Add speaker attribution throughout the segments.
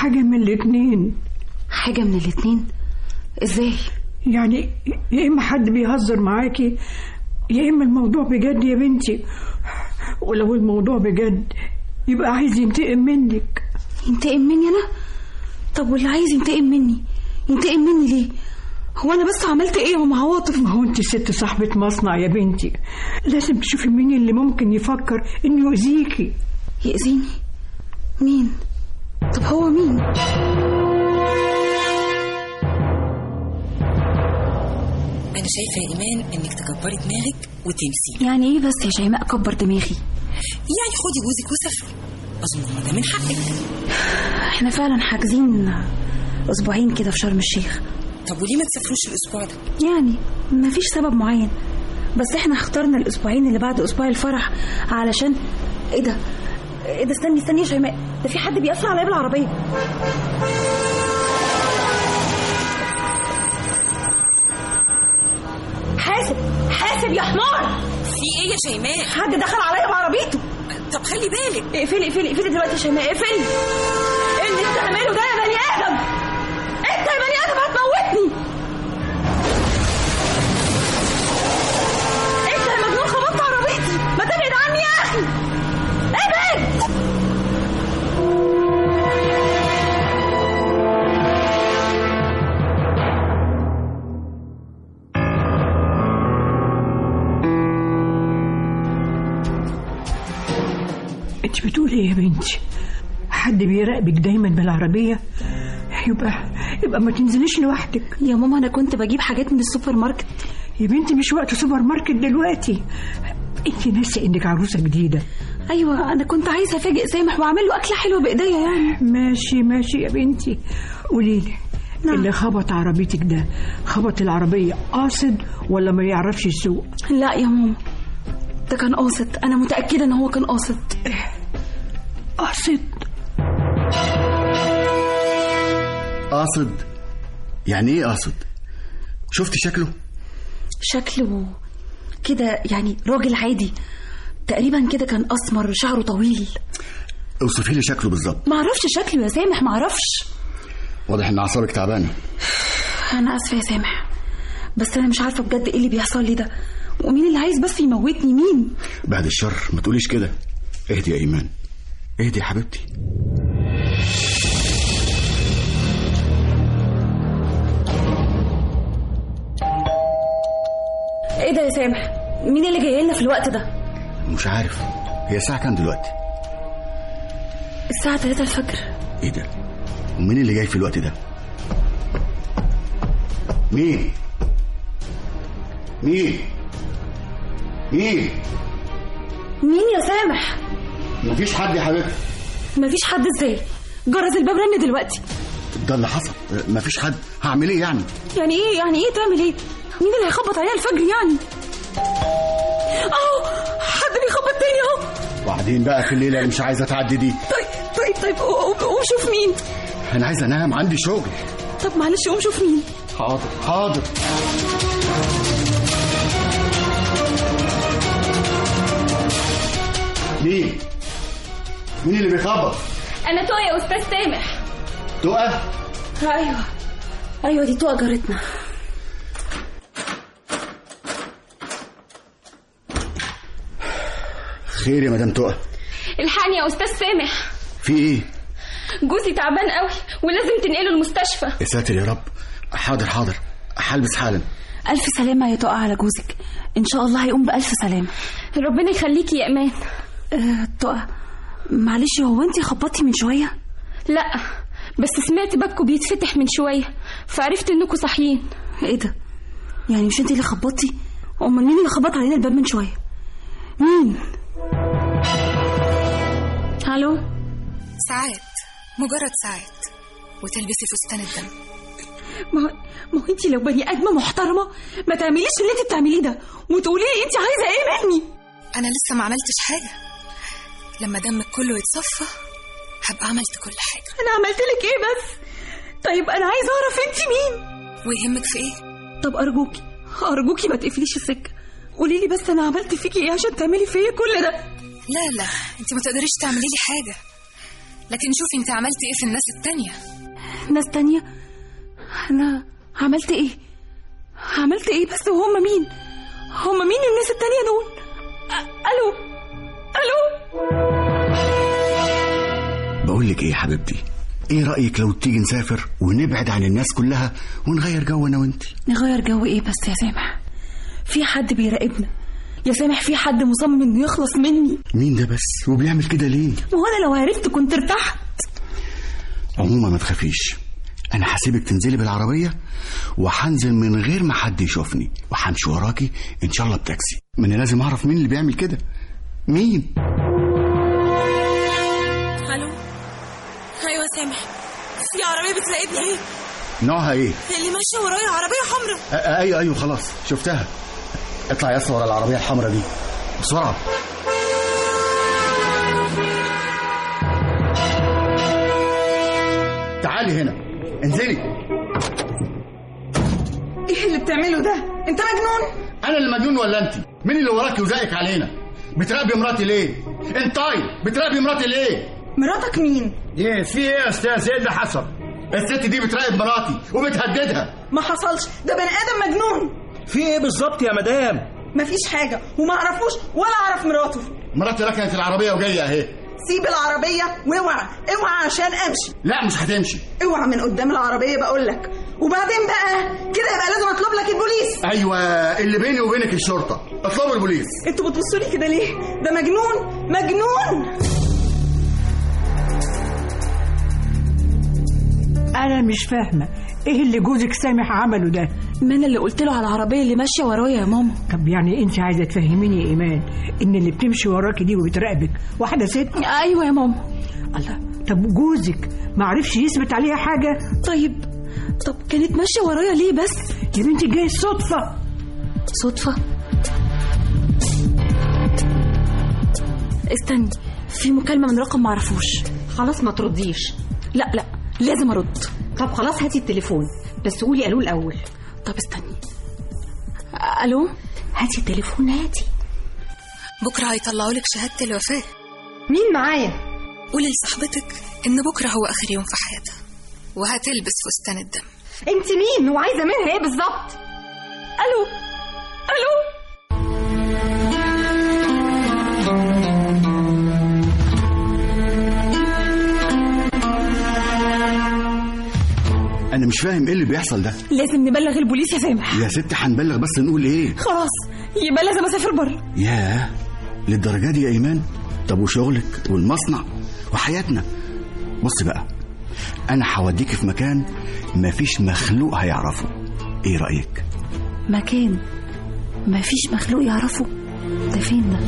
Speaker 1: حاجة من الاتنين
Speaker 2: حاجة من الاتنين ازاي
Speaker 1: يعني يا إما حد بيهزر معاكي يا إما الموضوع بجد يا بنتي ولو الموضوع بجد يبقى عايز ينتقم منك
Speaker 2: ينتقم مني انا طب واللي عايز ينتقم مني ينتقم مني ليه هو انا بس عملت ايه وما عواطف
Speaker 1: ما هو انت ست صاحبة مصنع يا بنتي لازم تشوفي مين اللي ممكن يفكر انه يؤذيكي
Speaker 2: يأذيني مين طب هو مين
Speaker 3: أنا شايفة يا إيمان إنك تكبري دماغك وتنسي
Speaker 2: يعني ايه بس يا شيماء كبر دماغي
Speaker 3: يعني خدي جوزك وسافري أظن هو ده من حقك
Speaker 2: احنا فعلا حاجزين اسبوعين كده في شرم الشيخ
Speaker 3: طب وليه ما تسافروش الأسبوع ده؟
Speaker 2: يعني مفيش سبب معين بس احنا اخترنا الاسبوعين اللي بعد اسبوع الفرح علشان ايه ده ايه ده استني استني يا شيماء ده في حد بيقفل عليا بالعربيه حاسب حاسب يا حمار
Speaker 3: في إيه يا شيماء؟
Speaker 2: حد دخل عليا بعربيته
Speaker 3: طب خلي بالك
Speaker 2: اقفلي اقفلي اقفلي دلوقتي يا شيماء اقفلي إيه اللي بتعمله ده يا بني ادم انت يا بني ادم هتموتني انت يا مجنون خبطت عربيتي ما تبعد عني يا اخي ابعد
Speaker 1: انت بتقولي ايه يا بنتي حد بيراقبك دايما بالعربية يبقى يبقى ما تنزليش لوحدك
Speaker 2: يا ماما انا كنت بجيب حاجات من السوبر ماركت
Speaker 1: يا بنتي مش وقت سوبر ماركت دلوقتي انت ناسي انك عروسة جديدة
Speaker 2: ايوه انا كنت عايزه افاجئ سامح واعمل له اكله حلوه بايديا يعني
Speaker 1: ماشي ماشي يا بنتي قولي لي
Speaker 2: نعم.
Speaker 1: اللي خبط عربيتك ده خبط العربية قاصد ولا ما يعرفش السوق
Speaker 2: لا يا ماما ده كان قاصد انا متاكده ان هو كان قاصد
Speaker 1: قاصد
Speaker 4: قاصد يعني ايه قاصد شفت شكله
Speaker 2: شكله كده يعني راجل عادي تقريبا كده كان اسمر شعره طويل
Speaker 4: اوصفي لي شكله بالظبط
Speaker 2: معرفش شكله يا سامح معرفش
Speaker 4: واضح ان اعصابك تعبانه
Speaker 2: انا اسفه يا سامح بس انا مش عارفه بجد ايه اللي بيحصل لي ده ومين اللي عايز بس يموتني مين
Speaker 4: بعد الشر ما تقوليش كده اهدي يا ايمان اهدي يا حبيبتي
Speaker 2: ايه ده يا سامح مين اللي جاي لنا في الوقت ده
Speaker 4: مش عارف هي الساعه كام دلوقتي
Speaker 2: الساعه 3 الفجر
Speaker 4: ايه ده ومين اللي جاي في الوقت ده مين مين مين
Speaker 2: مين يا سامح
Speaker 4: مفيش حد يا حبيبتي
Speaker 2: مفيش حد ازاي جرس الباب رن دلوقتي
Speaker 4: ده اللي حصل مفيش حد هعمل ايه يعني
Speaker 2: يعني ايه يعني ايه تعمل ايه مين اللي هيخبط عليها الفجر يعني اهو حد بيخبط تاني اهو
Speaker 4: وبعدين بقى في الليله اللي مش عايزه تعدي دي
Speaker 2: طيب طيب طيب قوم قوم شوف مين
Speaker 4: انا عايز انام عندي شغل
Speaker 2: طب معلش قوم شوف مين
Speaker 4: حاضر حاضر مين؟ مين اللي بيخبط؟
Speaker 2: انا تقى يا استاذ سامح
Speaker 4: تقى؟
Speaker 2: ايوه ايوه دي تقى جارتنا
Speaker 4: خير يا مدام تقى
Speaker 5: الحقني يا استاذ سامح
Speaker 4: في ايه؟
Speaker 5: جوزي تعبان قوي ولازم تنقله المستشفى
Speaker 4: يا ساتر يا رب حاضر حاضر هلبس حالا
Speaker 2: الف سلامه يا تقى على جوزك ان شاء الله هيقوم بالف سلامه
Speaker 5: ربنا يخليكي يا امان
Speaker 2: أه تقى معلش هو انت خبطتي من شويه
Speaker 5: لا بس سمعت بابكو بيتفتح من شويه فعرفت انكم صاحيين
Speaker 2: ايه ده يعني مش انت اللي خبطتي امال مين اللي خبط علينا الباب من شويه مين الو
Speaker 3: ساعات مجرد ساعات وتلبسي فستان الدم
Speaker 2: ما ما هو انت لو بني ادمه محترمه ما تعمليش اللي انت بتعمليه ده وتقولي لي انت عايزه ايه مني
Speaker 3: أنا لسه ما عملتش حاجة لما دمك كله يتصفى هبقى عملت كل حاجة
Speaker 2: انا عملت لك ايه بس طيب انا عايزه اعرف انت مين
Speaker 3: ويهمك في إيه؟
Speaker 2: طب ارجوكي ارجوكي ما تقفليش السكه قولي لي بس انا عملت فيكي ايه عشان تعملي فيا كل ده
Speaker 3: لا لا أنت ما تقدريش تعملي لي حاجة لكن شوفي انت عملتي ايه في الناس التانية
Speaker 5: ناس تانية أنا عملت
Speaker 2: ايه؟
Speaker 5: إيه؟ عملت إيه بس وهم مين؟ هم مين الناس التانية دول؟ أ- ألو ألو
Speaker 4: بقول لك ايه يا حبيبتي ايه رايك لو تيجي نسافر ونبعد عن الناس كلها ونغير جو انا وانت
Speaker 2: نغير جو ايه بس يا سامح في حد بيراقبنا يا سامح في حد مصمم انه يخلص مني
Speaker 4: مين ده بس وبيعمل كده ليه
Speaker 2: ما هو انا لو عرفت كنت ارتحت
Speaker 4: عموما ما تخافيش انا هسيبك تنزلي بالعربيه وهنزل من غير ما حد يشوفني وهمشي وراكي ان شاء الله بتاكسي ما انا لازم اعرف مين اللي بيعمل كده مين
Speaker 3: الو ايوه يا سامح في عربيه بتراقبني ايه
Speaker 4: نوعها ايه
Speaker 3: اللي ماشيه ورايا عربيه حمراء
Speaker 4: أ- ايوه ايوه خلاص شفتها اطلع يا اسطى ورا العربيه الحمراء دي بسرعه تعالي هنا انزلي
Speaker 1: ايه اللي بتعمله ده انت مجنون
Speaker 4: انا اللي مجنون ولا انت مين اللي وراكي وزيك علينا بتراقبي مراتي ليه انتي بتراقبي مراتي ليه
Speaker 1: مراتك مين
Speaker 4: ايه في ايه يا استاذ ايه اللي حصل الست دي بتراقب مراتي وبتهددها
Speaker 1: ما حصلش ده بني ادم مجنون
Speaker 6: في
Speaker 4: إيه
Speaker 6: ايه بالظبط يا مدام
Speaker 1: مفيش حاجه وما اعرفوش ولا اعرف مراته
Speaker 4: مراتي ركنت العربيه وجايه اهي
Speaker 1: سيب العربيه واوعى اوعى عشان امشي
Speaker 4: لا مش هتمشي
Speaker 1: اوعى من قدام العربيه بقول لك وبعدين بقى كده يبقى لازم اطلب لك البوليس
Speaker 4: ايوه اللي بيني وبينك الشرطه اطلبوا البوليس
Speaker 1: انتوا بتبصوا لي كده ليه ده مجنون مجنون انا مش فاهمه ايه اللي جوزك سامح عمله ده
Speaker 2: ما انا اللي قلت له على العربيه اللي ماشيه ورايا يا ماما
Speaker 1: طب يعني انت عايزه تفهميني يا ايمان ان اللي بتمشي وراكي دي وبتراقبك واحده ست
Speaker 2: ايوه يا ماما
Speaker 1: الله طب جوزك ما عرفش يثبت عليها حاجه
Speaker 2: طيب طب كانت ماشيه ورايا ليه بس
Speaker 1: يا بنتي جاي الصدفه
Speaker 2: صدفه استني في مكالمه من رقم معرفوش
Speaker 7: خلاص ما ترديش
Speaker 2: لا لا لازم ارد
Speaker 7: طب خلاص هاتي التليفون بس قولي الو الاول
Speaker 2: طب استني الو هاتي التليفون هاتي
Speaker 3: بكره هيطلعوا لك شهاده الوفاه
Speaker 7: مين معايا
Speaker 3: قولي لصاحبتك ان بكره هو اخر يوم في حياتها وهتلبس فستان الدم
Speaker 7: انت مين وعايزه منها ايه بالظبط
Speaker 2: الو الو
Speaker 4: انا مش فاهم ايه اللي بيحصل ده
Speaker 2: لازم نبلغ البوليس يا سامح
Speaker 4: يا ست هنبلغ بس نقول ايه
Speaker 2: خلاص يبقى لازم اسافر بره
Speaker 4: ياه للدرجه دي يا ايمان طب وشغلك والمصنع وحياتنا بص بقى انا هوديك في مكان مفيش مخلوق هيعرفه ايه رايك
Speaker 2: مكان ما فيش مخلوق يعرفه ده فين ده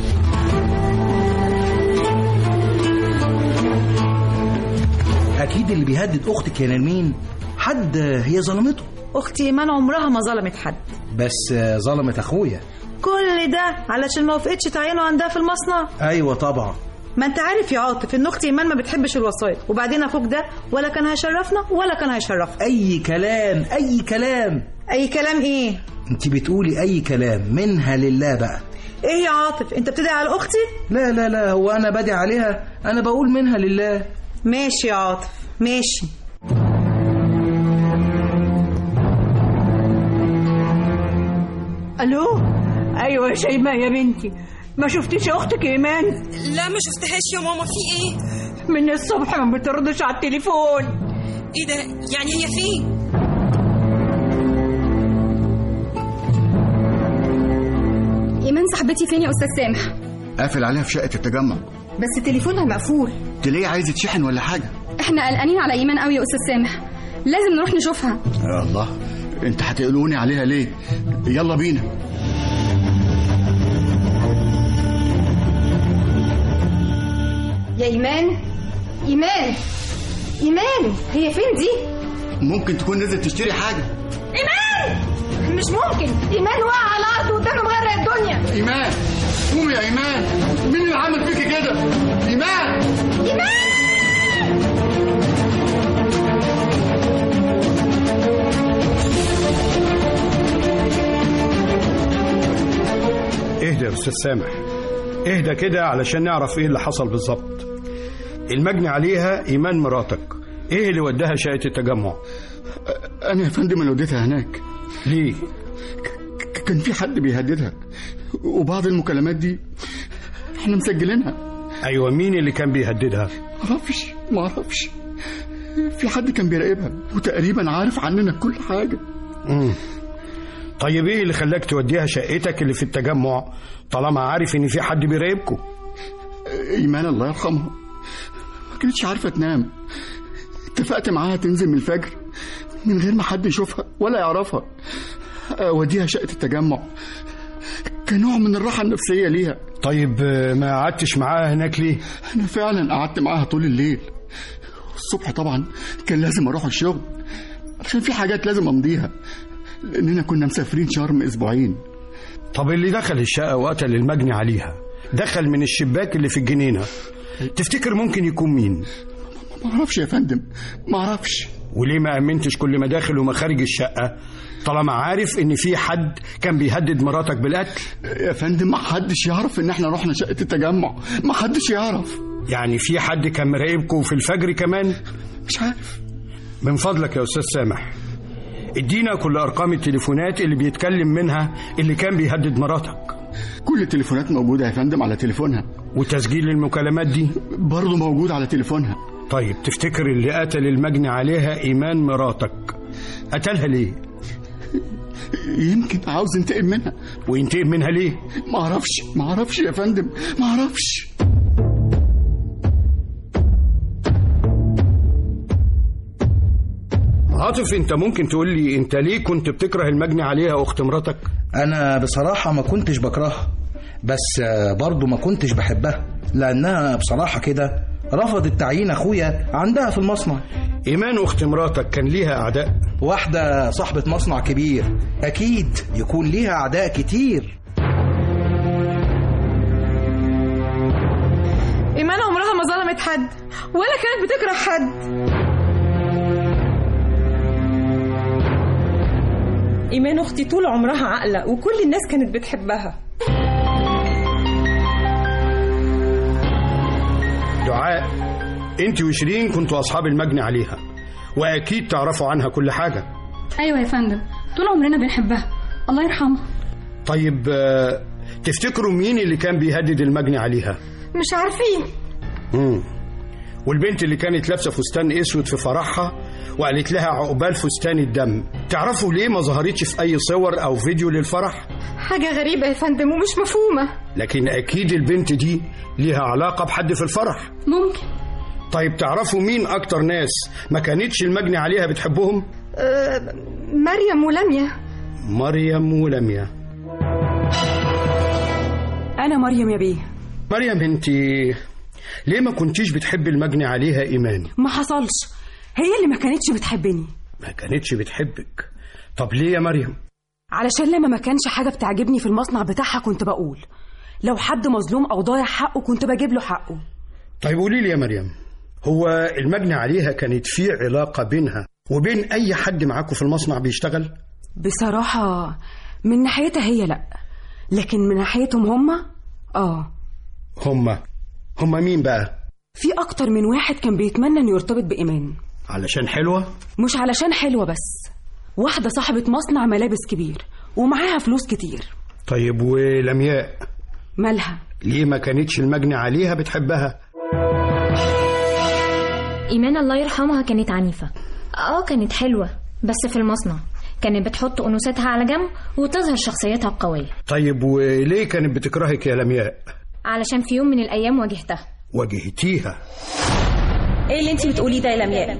Speaker 6: اكيد اللي بيهدد اختك كان مين حد هي ظلمته
Speaker 8: اختي ايمان عمرها ما ظلمت حد
Speaker 6: بس آه، ظلمت اخويا
Speaker 8: كل ده علشان ما وافقتش تعينه عندها في المصنع
Speaker 6: ايوه طبعا
Speaker 8: ما انت عارف يا عاطف ان اختي ايمان ما بتحبش الوسايط وبعدين اخوك ده ولا كان هيشرفنا ولا كان هيشرفك
Speaker 6: اي كلام اي كلام
Speaker 8: اي كلام ايه
Speaker 6: انت بتقولي اي كلام منها لله بقى
Speaker 8: ايه يا عاطف انت بتدعي على اختي
Speaker 6: لا لا لا هو انا بدعي عليها انا بقول منها لله
Speaker 8: ماشي يا عاطف ماشي
Speaker 1: الو ايوه يا شيماء يا بنتي ما شفتيش اختك ايمان
Speaker 3: لا ما شفتهاش يا ماما في ايه
Speaker 1: من الصبح ما بتردش على التليفون
Speaker 3: ايه ده يعني هي فين
Speaker 5: إيمان صاحبتي فين يا أستاذ سامح؟
Speaker 4: قافل عليها في شقه التجمع
Speaker 5: بس تليفونها مقفول
Speaker 4: تلاقي عايزه تشحن ولا حاجه
Speaker 5: إحنا قلقانين على إيمان قوي يا أستاذ سامح لازم نروح نشوفها
Speaker 4: يا الله انت هتقلقوني عليها ليه يلا بينا
Speaker 5: يا إيمان إيمان إيمان هي فين دي؟
Speaker 4: ممكن تكون نزلت تشتري حاجه
Speaker 5: إيمان مش ممكن إيمان وقع على الأرض وقدامه مغرق الدنيا
Speaker 4: ايمان قومي يا ايمان مين اللي عمل فيكي كده ايمان
Speaker 9: اهدى يا استاذ سامح اهدى كده علشان نعرف ايه اللي حصل بالظبط المجني عليها ايمان مراتك ايه اللي وداها شقه التجمع
Speaker 4: انا يا فندم اللي وديتها هناك
Speaker 9: ليه
Speaker 4: ك- كان في حد بيهددها وبعض المكالمات دي احنا مسجلينها
Speaker 9: ايوه مين اللي كان بيهددها
Speaker 4: معرفش معرفش في حد كان بيراقبها وتقريبا عارف عننا كل حاجه
Speaker 9: مم. طيب ايه اللي خلاك توديها شقتك اللي في التجمع طالما عارف ان في حد بيراقبكم
Speaker 4: ايمان الله يرحمها ما كانتش عارفه تنام اتفقت معاها تنزل من الفجر من غير ما حد يشوفها ولا يعرفها اوديها شقه التجمع كنوع من الراحه النفسيه ليها
Speaker 9: طيب آه، ما قعدتش معاها هناك ليه
Speaker 4: انا فعلا قعدت معاها طول الليل الصبح طبعا كان لازم اروح الشغل عشان في حاجات لازم امضيها لاننا كنا مسافرين شرم اسبوعين
Speaker 9: طب اللي دخل الشقه وقتل المجني عليها دخل من الشباك اللي في الجنينه تفتكر ممكن يكون مين
Speaker 4: ما اعرفش يا فندم ما اعرفش
Speaker 9: وليه ما امنتش كل مداخل ومخارج الشقه طالما عارف ان في حد كان بيهدد مراتك بالقتل
Speaker 4: يا فندم ما حدش يعرف ان احنا رحنا شقه التجمع ما حدش يعرف
Speaker 9: يعني في حد كان مراقبكم في الفجر كمان
Speaker 4: مش عارف
Speaker 9: من فضلك يا استاذ سامح ادينا كل ارقام التليفونات اللي بيتكلم منها اللي كان بيهدد مراتك
Speaker 4: كل التليفونات موجوده يا فندم على تليفونها
Speaker 9: وتسجيل المكالمات دي
Speaker 4: برضه موجود على تليفونها
Speaker 9: طيب تفتكر اللي قتل المجني عليها ايمان مراتك قتلها ليه
Speaker 4: يمكن عاوز ينتقم منها
Speaker 9: وينتقم منها ليه
Speaker 4: ما اعرفش ما اعرفش يا فندم ما اعرفش
Speaker 9: عاطف انت ممكن تقول لي انت ليه كنت بتكره المجني عليها اخت مراتك
Speaker 6: انا بصراحه ما كنتش بكرهها بس آه، برضو ما كنتش بحبها لانها بصراحه كده رفضت تعيين اخويا عندها في المصنع
Speaker 9: ايمان اخت مراتك كان ليها اعداء
Speaker 6: واحده صاحبه مصنع كبير اكيد يكون ليها اعداء كتير
Speaker 10: إيمان عمرها ما ظلمت حد ولا كانت بتكره حد
Speaker 2: إيمان أختي طول عمرها عاقلة وكل الناس كانت بتحبها
Speaker 9: دعاء انت وشيرين كنتوا اصحاب المجني عليها واكيد تعرفوا عنها كل حاجه
Speaker 11: ايوه يا فندم طول عمرنا بنحبها الله يرحمها
Speaker 9: طيب آه، تفتكروا مين اللي كان بيهدد المجني عليها
Speaker 12: مش عارفين
Speaker 9: مم. والبنت اللي كانت لابسه فستان اسود في فرحها وقالت لها عقبال فستان الدم تعرفوا ليه ما ظهرتش في اي صور او فيديو للفرح
Speaker 12: حاجة غريبة يا فندم ومش مفهومة
Speaker 9: لكن اكيد البنت دي ليها علاقه بحد في الفرح
Speaker 11: ممكن
Speaker 9: طيب تعرفوا مين اكتر ناس ما كانتش المجني عليها بتحبهم
Speaker 12: أه مريم ولميا
Speaker 9: مريم ولميا
Speaker 2: أنا مريم يا بيه
Speaker 9: مريم انت ليه ما كنتيش بتحبي المجني عليها ايمان
Speaker 2: ما حصلش هي اللي ما كانتش بتحبني
Speaker 9: ما كانتش بتحبك طب ليه يا مريم
Speaker 2: علشان لما ما كانش حاجة بتعجبني في المصنع بتاعها كنت بقول لو حد مظلوم أو ضايع حقه كنت بجيب له حقه
Speaker 9: طيب قولي لي يا مريم هو المجني عليها كانت في علاقة بينها وبين أي حد معاكم في المصنع بيشتغل؟
Speaker 2: بصراحة من ناحيتها هي لأ لكن من ناحيتهم هما آه
Speaker 9: هما هما مين بقى؟
Speaker 2: في أكتر من واحد كان بيتمنى إنه يرتبط بإيمان
Speaker 9: علشان حلوة؟
Speaker 2: مش علشان حلوة بس واحدة صاحبة مصنع ملابس كبير ومعاها فلوس كتير
Speaker 9: طيب ولمياء
Speaker 2: مالها
Speaker 9: ليه ما كانتش المجني عليها بتحبها؟
Speaker 13: إيمان الله يرحمها كانت عنيفة آه كانت حلوة بس في المصنع كانت بتحط أنوثتها على جنب وتظهر شخصيتها القوية
Speaker 9: طيب وليه كانت بتكرهك يا لمياء؟
Speaker 13: علشان في يوم من الأيام واجهتها
Speaker 9: واجهتيها
Speaker 2: إيه اللي أنت بتقوليه ده يا لمياء؟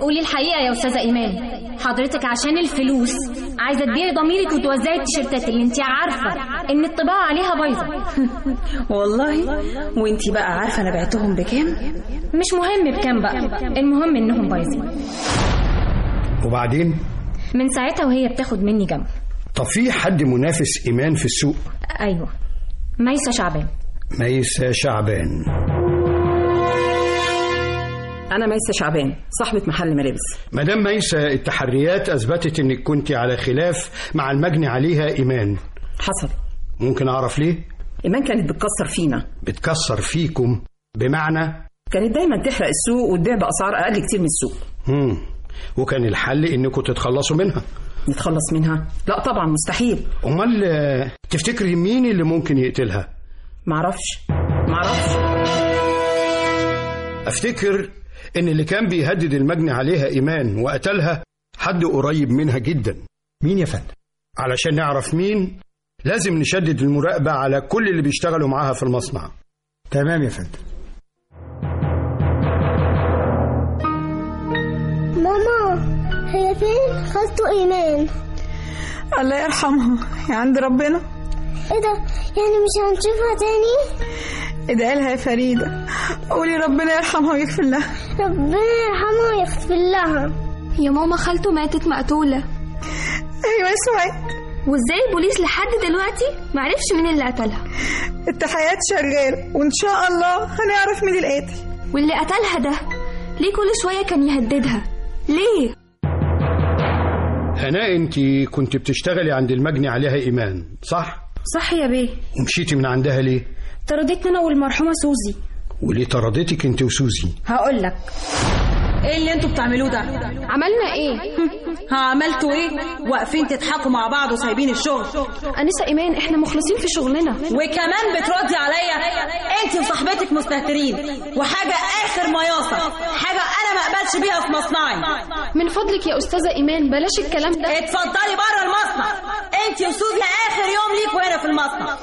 Speaker 13: قولي الحقيقة يا أستاذة إيمان حضرتك عشان الفلوس عايزة تبيعي ضميرك وتوزعي التيشيرتات اللي انت عارفة إن الطباعة عليها بايظة
Speaker 2: والله وأنت بقى عارفة أنا بعتهم بكام؟
Speaker 13: مش مهم بكام بقى المهم إنهم بايظين
Speaker 9: وبعدين؟
Speaker 13: من ساعتها وهي بتاخد مني جنب
Speaker 9: طب في حد منافس إيمان في السوق؟
Speaker 13: أيوه ميسة شعبان
Speaker 9: ميسة شعبان
Speaker 2: أنا ميسة شعبان صاحبة محل ملابس
Speaker 9: مدام ميسة التحريات أثبتت إنك كنت على خلاف مع المجني عليها إيمان
Speaker 2: حصل
Speaker 9: ممكن أعرف ليه؟
Speaker 2: إيمان كانت بتكسر فينا
Speaker 9: بتكسر فيكم بمعنى
Speaker 14: كانت دايما تحرق السوق وتبيع باسعار اقل كتير من السوق
Speaker 9: مم. وكان الحل انكم تتخلصوا منها
Speaker 14: نتخلص منها لا طبعا مستحيل
Speaker 9: امال آه، تفتكري مين اللي ممكن يقتلها
Speaker 14: معرفش معرفش
Speaker 9: افتكر ان اللي كان بيهدد المجني عليها ايمان وقتلها حد قريب منها جدا
Speaker 6: مين يا فندم
Speaker 9: علشان نعرف مين لازم نشدد المراقبه على كل اللي بيشتغلوا معاها في المصنع
Speaker 6: تمام يا فندم
Speaker 15: ماما هي فين خالته ايمان
Speaker 8: الله يرحمها يا عند ربنا
Speaker 15: ايه ده يعني مش هنشوفها تاني
Speaker 8: ادعي لها يا فريده قولي ربنا يرحمها ويغفر لها
Speaker 15: ربنا يرحمها ويغفر لها
Speaker 12: يا ماما خالته ماتت مقتولة
Speaker 8: ايوه يا سعاد
Speaker 12: وازاي البوليس لحد دلوقتي معرفش مين اللي قتلها
Speaker 8: التحقيقات شغاله وان شاء الله هنعرف مين القاتل
Speaker 12: واللي قتلها ده ليه كل شوية كان يهددها ليه
Speaker 9: هناء انت كنت بتشتغلي عند المجني عليها ايمان صح
Speaker 16: صح يا بيه
Speaker 9: ومشيتي من عندها ليه
Speaker 16: طردتني انا والمرحومه سوزي
Speaker 9: وليه طردتك انت وسوزي
Speaker 16: هقول لك ايه اللي انتوا بتعملوه ده
Speaker 12: عملنا ايه؟
Speaker 16: ها عملتوا ايه واقفين تضحكوا مع بعض وسايبين الشغل
Speaker 12: أنسة إيمان إحنا مخلصين في شغلنا
Speaker 16: وكمان بتردي عليا انت وصاحبتك مستهترين وحاجه اخر مياصه حاجه انا ما اقبلش بيها في مصنعي
Speaker 12: من فضلك يا أستاذة إيمان بلاش الكلام ده
Speaker 16: اتفضلي بره المصنع انت وسوزي اخر يوم ليكوا هنا في المصنع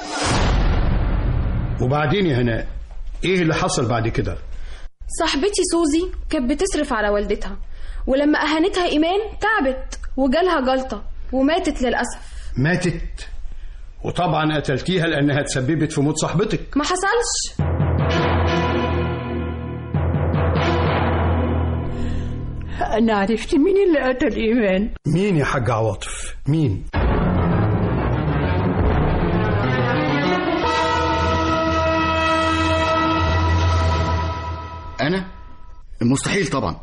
Speaker 9: وبعدين يا هناء ايه اللي حصل بعد كده
Speaker 12: صاحبتي سوزي كانت بتصرف على والدتها ولما أهانتها إيمان تعبت وجالها جلطة وماتت للأسف
Speaker 9: ماتت وطبعا قتلتيها لانها تسببت في موت صاحبتك
Speaker 12: ما حصلش
Speaker 1: أنا عرفت مين اللي قتل إيمان
Speaker 9: مين يا حاج عواطف مين
Speaker 4: انا مستحيل طبعا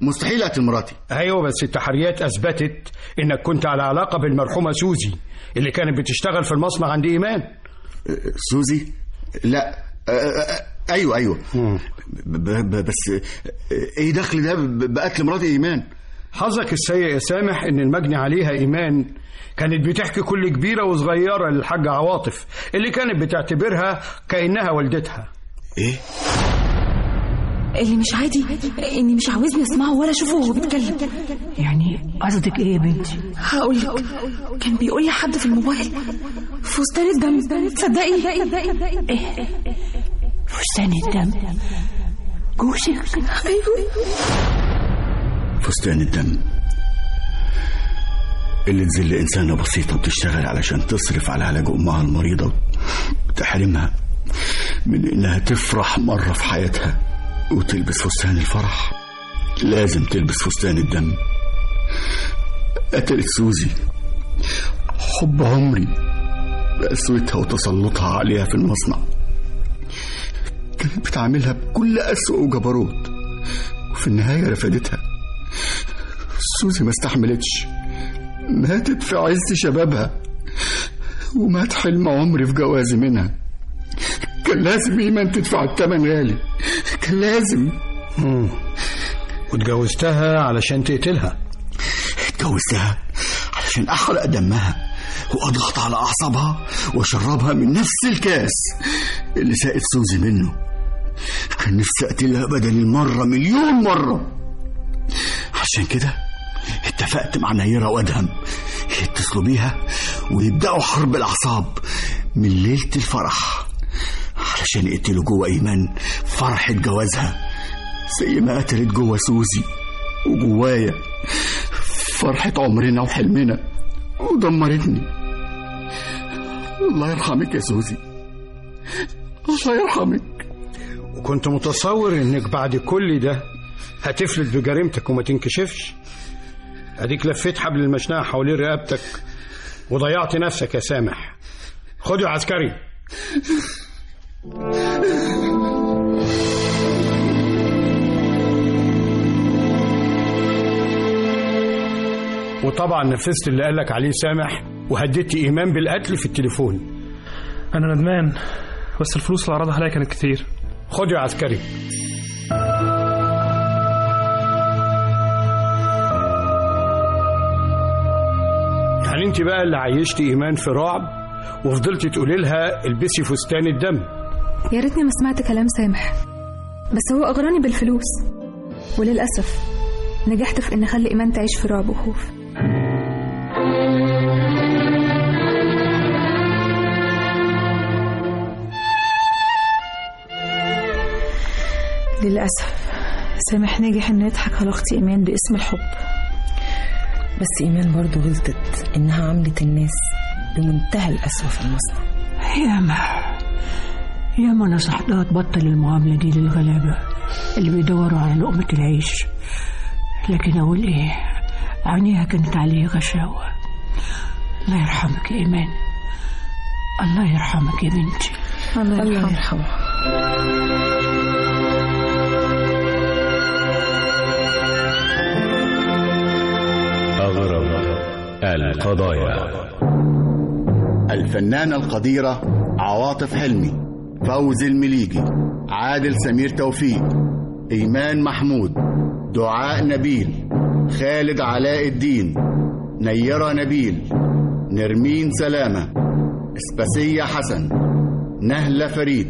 Speaker 4: مستحيل اقتل مراتي
Speaker 9: ايوه بس التحريات اثبتت انك كنت على علاقه بالمرحومه سوزي اللي كانت بتشتغل في المصنع عند ايمان
Speaker 4: أه، سوزي لا أه، أه، ايوه ايوه ب- ب- بس ايه دخل ده ب- بقتل مراتي ايمان
Speaker 9: حظك السيء يا سامح ان المجني عليها ايمان كانت بتحكي كل كبيره وصغيره للحاجه عواطف اللي كانت بتعتبرها كانها والدتها
Speaker 4: ايه
Speaker 2: اللي مش عادي اني مش عاوزني اسمعه ولا اشوفه وهو بيتكلم يعني قصدك ايه يا بنتي هقول لك كان بيقول لحد في الموبايل فستان الدم تصدقي ايه فستان الدم جوزك ايوه
Speaker 4: فستان الدم اللي تذل إنسانة بسيطة بتشتغل علشان تصرف على علاج أمها المريضة وتحرمها من إنها تفرح مرة في حياتها وتلبس فستان الفرح لازم تلبس فستان الدم قتلت سوزي حب عمري بقسوتها وتسلطها عليها في المصنع كانت بتعاملها بكل قسوة وجبروت وفي النهاية رفضتها سوزي ما استحملتش ماتت في عز شبابها ومات حلم عمري في جوازي منها كان لازم ايمان تدفع الثمن غالي كان لازم
Speaker 9: مم. واتجوزتها علشان تقتلها
Speaker 4: اتجوزتها علشان احرق دمها واضغط على اعصابها واشربها من نفس الكاس اللي ساقت سوزي منه كان نفسي اقتلها بدل المره مليون مره عشان كده اتفقت مع نيره وادهم يتصلوا بيها ويبداوا حرب الاعصاب من ليله الفرح علشان يقتلوا جوه ايمان فرحه جوازها زي ما قتلت جوه سوزي وجوايا فرحة عمرنا وحلمنا ودمرتني الله يرحمك يا سوزي الله يرحمك
Speaker 9: وكنت متصور انك بعد كل ده هتفلت بجريمتك وما تنكشفش اديك لفيت حبل المشنقه حوالين رقبتك وضيعت نفسك يا سامح خد يا عسكري وطبعا نفذت اللي قالك عليه سامح وهددت ايمان بالقتل في التليفون
Speaker 17: انا ندمان بس الفلوس اللي عرضها عليا كانت كتير
Speaker 9: خد يا عسكري امال يعني انت بقى اللي عيشتي ايمان في رعب وفضلتي تقولي لها البسي فستان الدم
Speaker 2: يا ريتني ما سمعت كلام سامح بس هو أغراني بالفلوس وللأسف نجحت في إن أخلي إيمان تعيش في رعب وخوف
Speaker 18: للأسف سامح نجح إنه يضحك على أختي إيمان باسم الحب
Speaker 19: بس إيمان برضو غلطت إنها عملت الناس بمنتهى القسوة في المصنع
Speaker 1: ياما ياما نصحتها تبطل المعاملة دي للغلابة اللي بيدوروا على لقمة العيش لكن أقول إيه عينيها كانت عليه غشاوة الله يرحمك يا إيمان الله يرحمك يا بنتي
Speaker 18: الله
Speaker 19: يرحمه
Speaker 6: أغرب القضايا
Speaker 4: الفنانة القديرة عواطف حلمي فوز المليجي عادل سمير توفيق إيمان محمود دعاء نبيل خالد علاء الدين نيرة نبيل نرمين سلامة إسباسية حسن نهلة فريد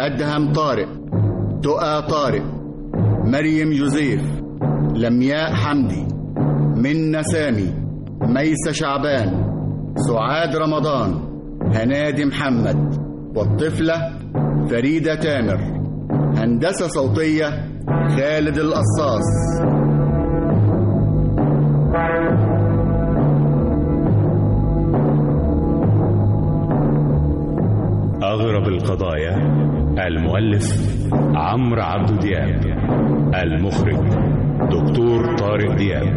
Speaker 4: أدهم طارق تقى طارق مريم جوزيف لمياء حمدي منة سامي ميسة شعبان سعاد رمضان هنادي محمد والطفلة فريدة تامر هندسة صوتية خالد القصاص
Speaker 6: أغرب القضايا المؤلف عمرو عبد دياب المخرج دكتور طارق دياب